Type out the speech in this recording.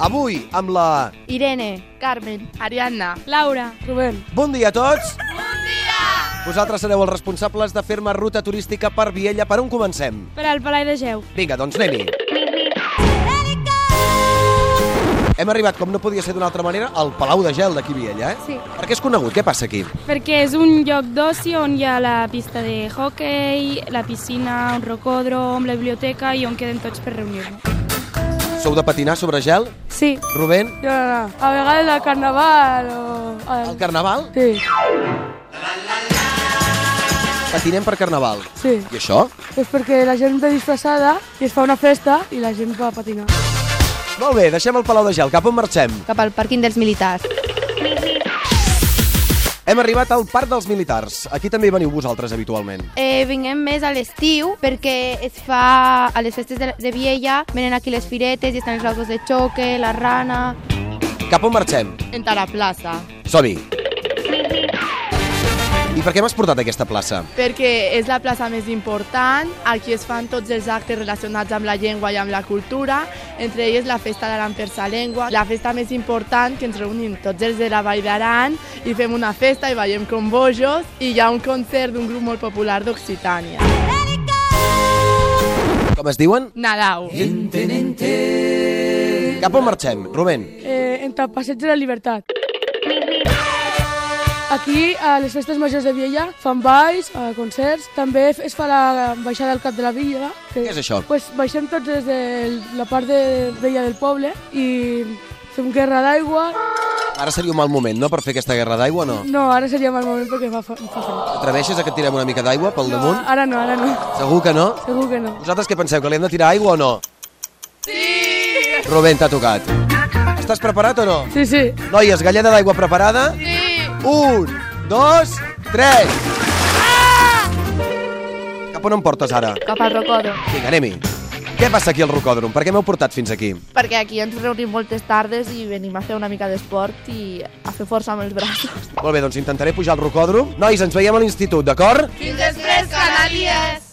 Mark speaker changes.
Speaker 1: Avui, amb la...
Speaker 2: Irene, Carmen,
Speaker 3: Ariadna.
Speaker 2: Laura, Rubén.
Speaker 1: Bon dia a tots! Bon dia! Vosaltres sereu els responsables de fer-me ruta turística per Viella. Per on comencem?
Speaker 2: Per al Palai de Geu.
Speaker 1: Vinga, doncs anem-hi. Hem arribat, com no podia ser d'una altra manera, al Palau de Gel d'aquí Viella, eh?
Speaker 2: Sí.
Speaker 1: Per què és conegut? Què passa aquí?
Speaker 2: Perquè és un lloc d'oci on hi ha la pista de hockey, la piscina, un rocòdrom, la biblioteca i on queden tots per reunir-nos.
Speaker 1: Sou de patinar sobre gel?
Speaker 2: Sí.
Speaker 1: Rubén?
Speaker 2: No, no, no. A vegades al carnaval o...
Speaker 1: El carnaval?
Speaker 2: Sí,
Speaker 1: Patinem per carnaval.
Speaker 2: sí.
Speaker 1: I això?
Speaker 2: És perquè la gent ve disfressada i es fa una festa i la gent va a patinar.
Speaker 1: Molt bé, deixem el Palau de Gel. Cap on marxem?
Speaker 3: Cap al pàrquing dels militars.
Speaker 1: Hem arribat al Parc dels Militars. Aquí també hi veniu vosaltres habitualment.
Speaker 3: Eh, vinguem més a l'estiu perquè es fa a les festes de, de Viella, venen aquí les firetes i estan els autos de xoque, la rana...
Speaker 1: Cap on marxem?
Speaker 3: Entra a la plaça.
Speaker 1: Som-hi! I per què m'has portat a aquesta plaça?
Speaker 4: perquè és la plaça més important, aquí es fan tots els actes relacionats amb la llengua i amb la cultura, entre elles la festa d'Aran per sa llengua, la festa més important que ens reunim tots els de la Vall d'Aran i fem una festa i ballem com bojos i hi ha un concert d'un grup molt popular d'Occitània.
Speaker 1: Com es diuen?
Speaker 4: Nadau.
Speaker 1: Cap on marxem, Rubén?
Speaker 5: eh, entre el Passeig de la Libertat. Aquí, a les festes majors de Viella, fan balls, eh, concerts, també es fa la baixada al cap de la villa. Que,
Speaker 1: Què és això?
Speaker 5: Pues baixem tots des de la part de vella del poble i fem guerra d'aigua.
Speaker 1: Ara seria un mal moment, no?, per fer aquesta guerra d'aigua, no?
Speaker 5: No, ara seria mal moment perquè fa, fa, fa fred.
Speaker 1: T'atreveixes a que et tirem una mica d'aigua pel
Speaker 5: No,
Speaker 1: damunt?
Speaker 5: ara no, ara no.
Speaker 1: Segur que no?
Speaker 5: Segur que no.
Speaker 1: Vosaltres què penseu, que li hem de tirar aigua o no? Sí! Rubén, t'ha tocat. Estàs preparat o no?
Speaker 5: Sí, sí.
Speaker 1: Noies, galleda d'aigua preparada? Sí! Un, dos, tres! Ah! Cap on em portes ara?
Speaker 3: Cap al rocòdrom.
Speaker 1: Vinga, anem-hi. Què passa aquí al Rocòdrom? Per què m'heu portat fins aquí?
Speaker 4: Perquè aquí ens reunim moltes tardes i venim a fer una mica d'esport i a fer força amb els braços.
Speaker 1: Molt bé, doncs intentaré pujar al Rocòdrom. Nois, ens veiem a l'institut, d'acord?
Speaker 4: Fins després, canalies!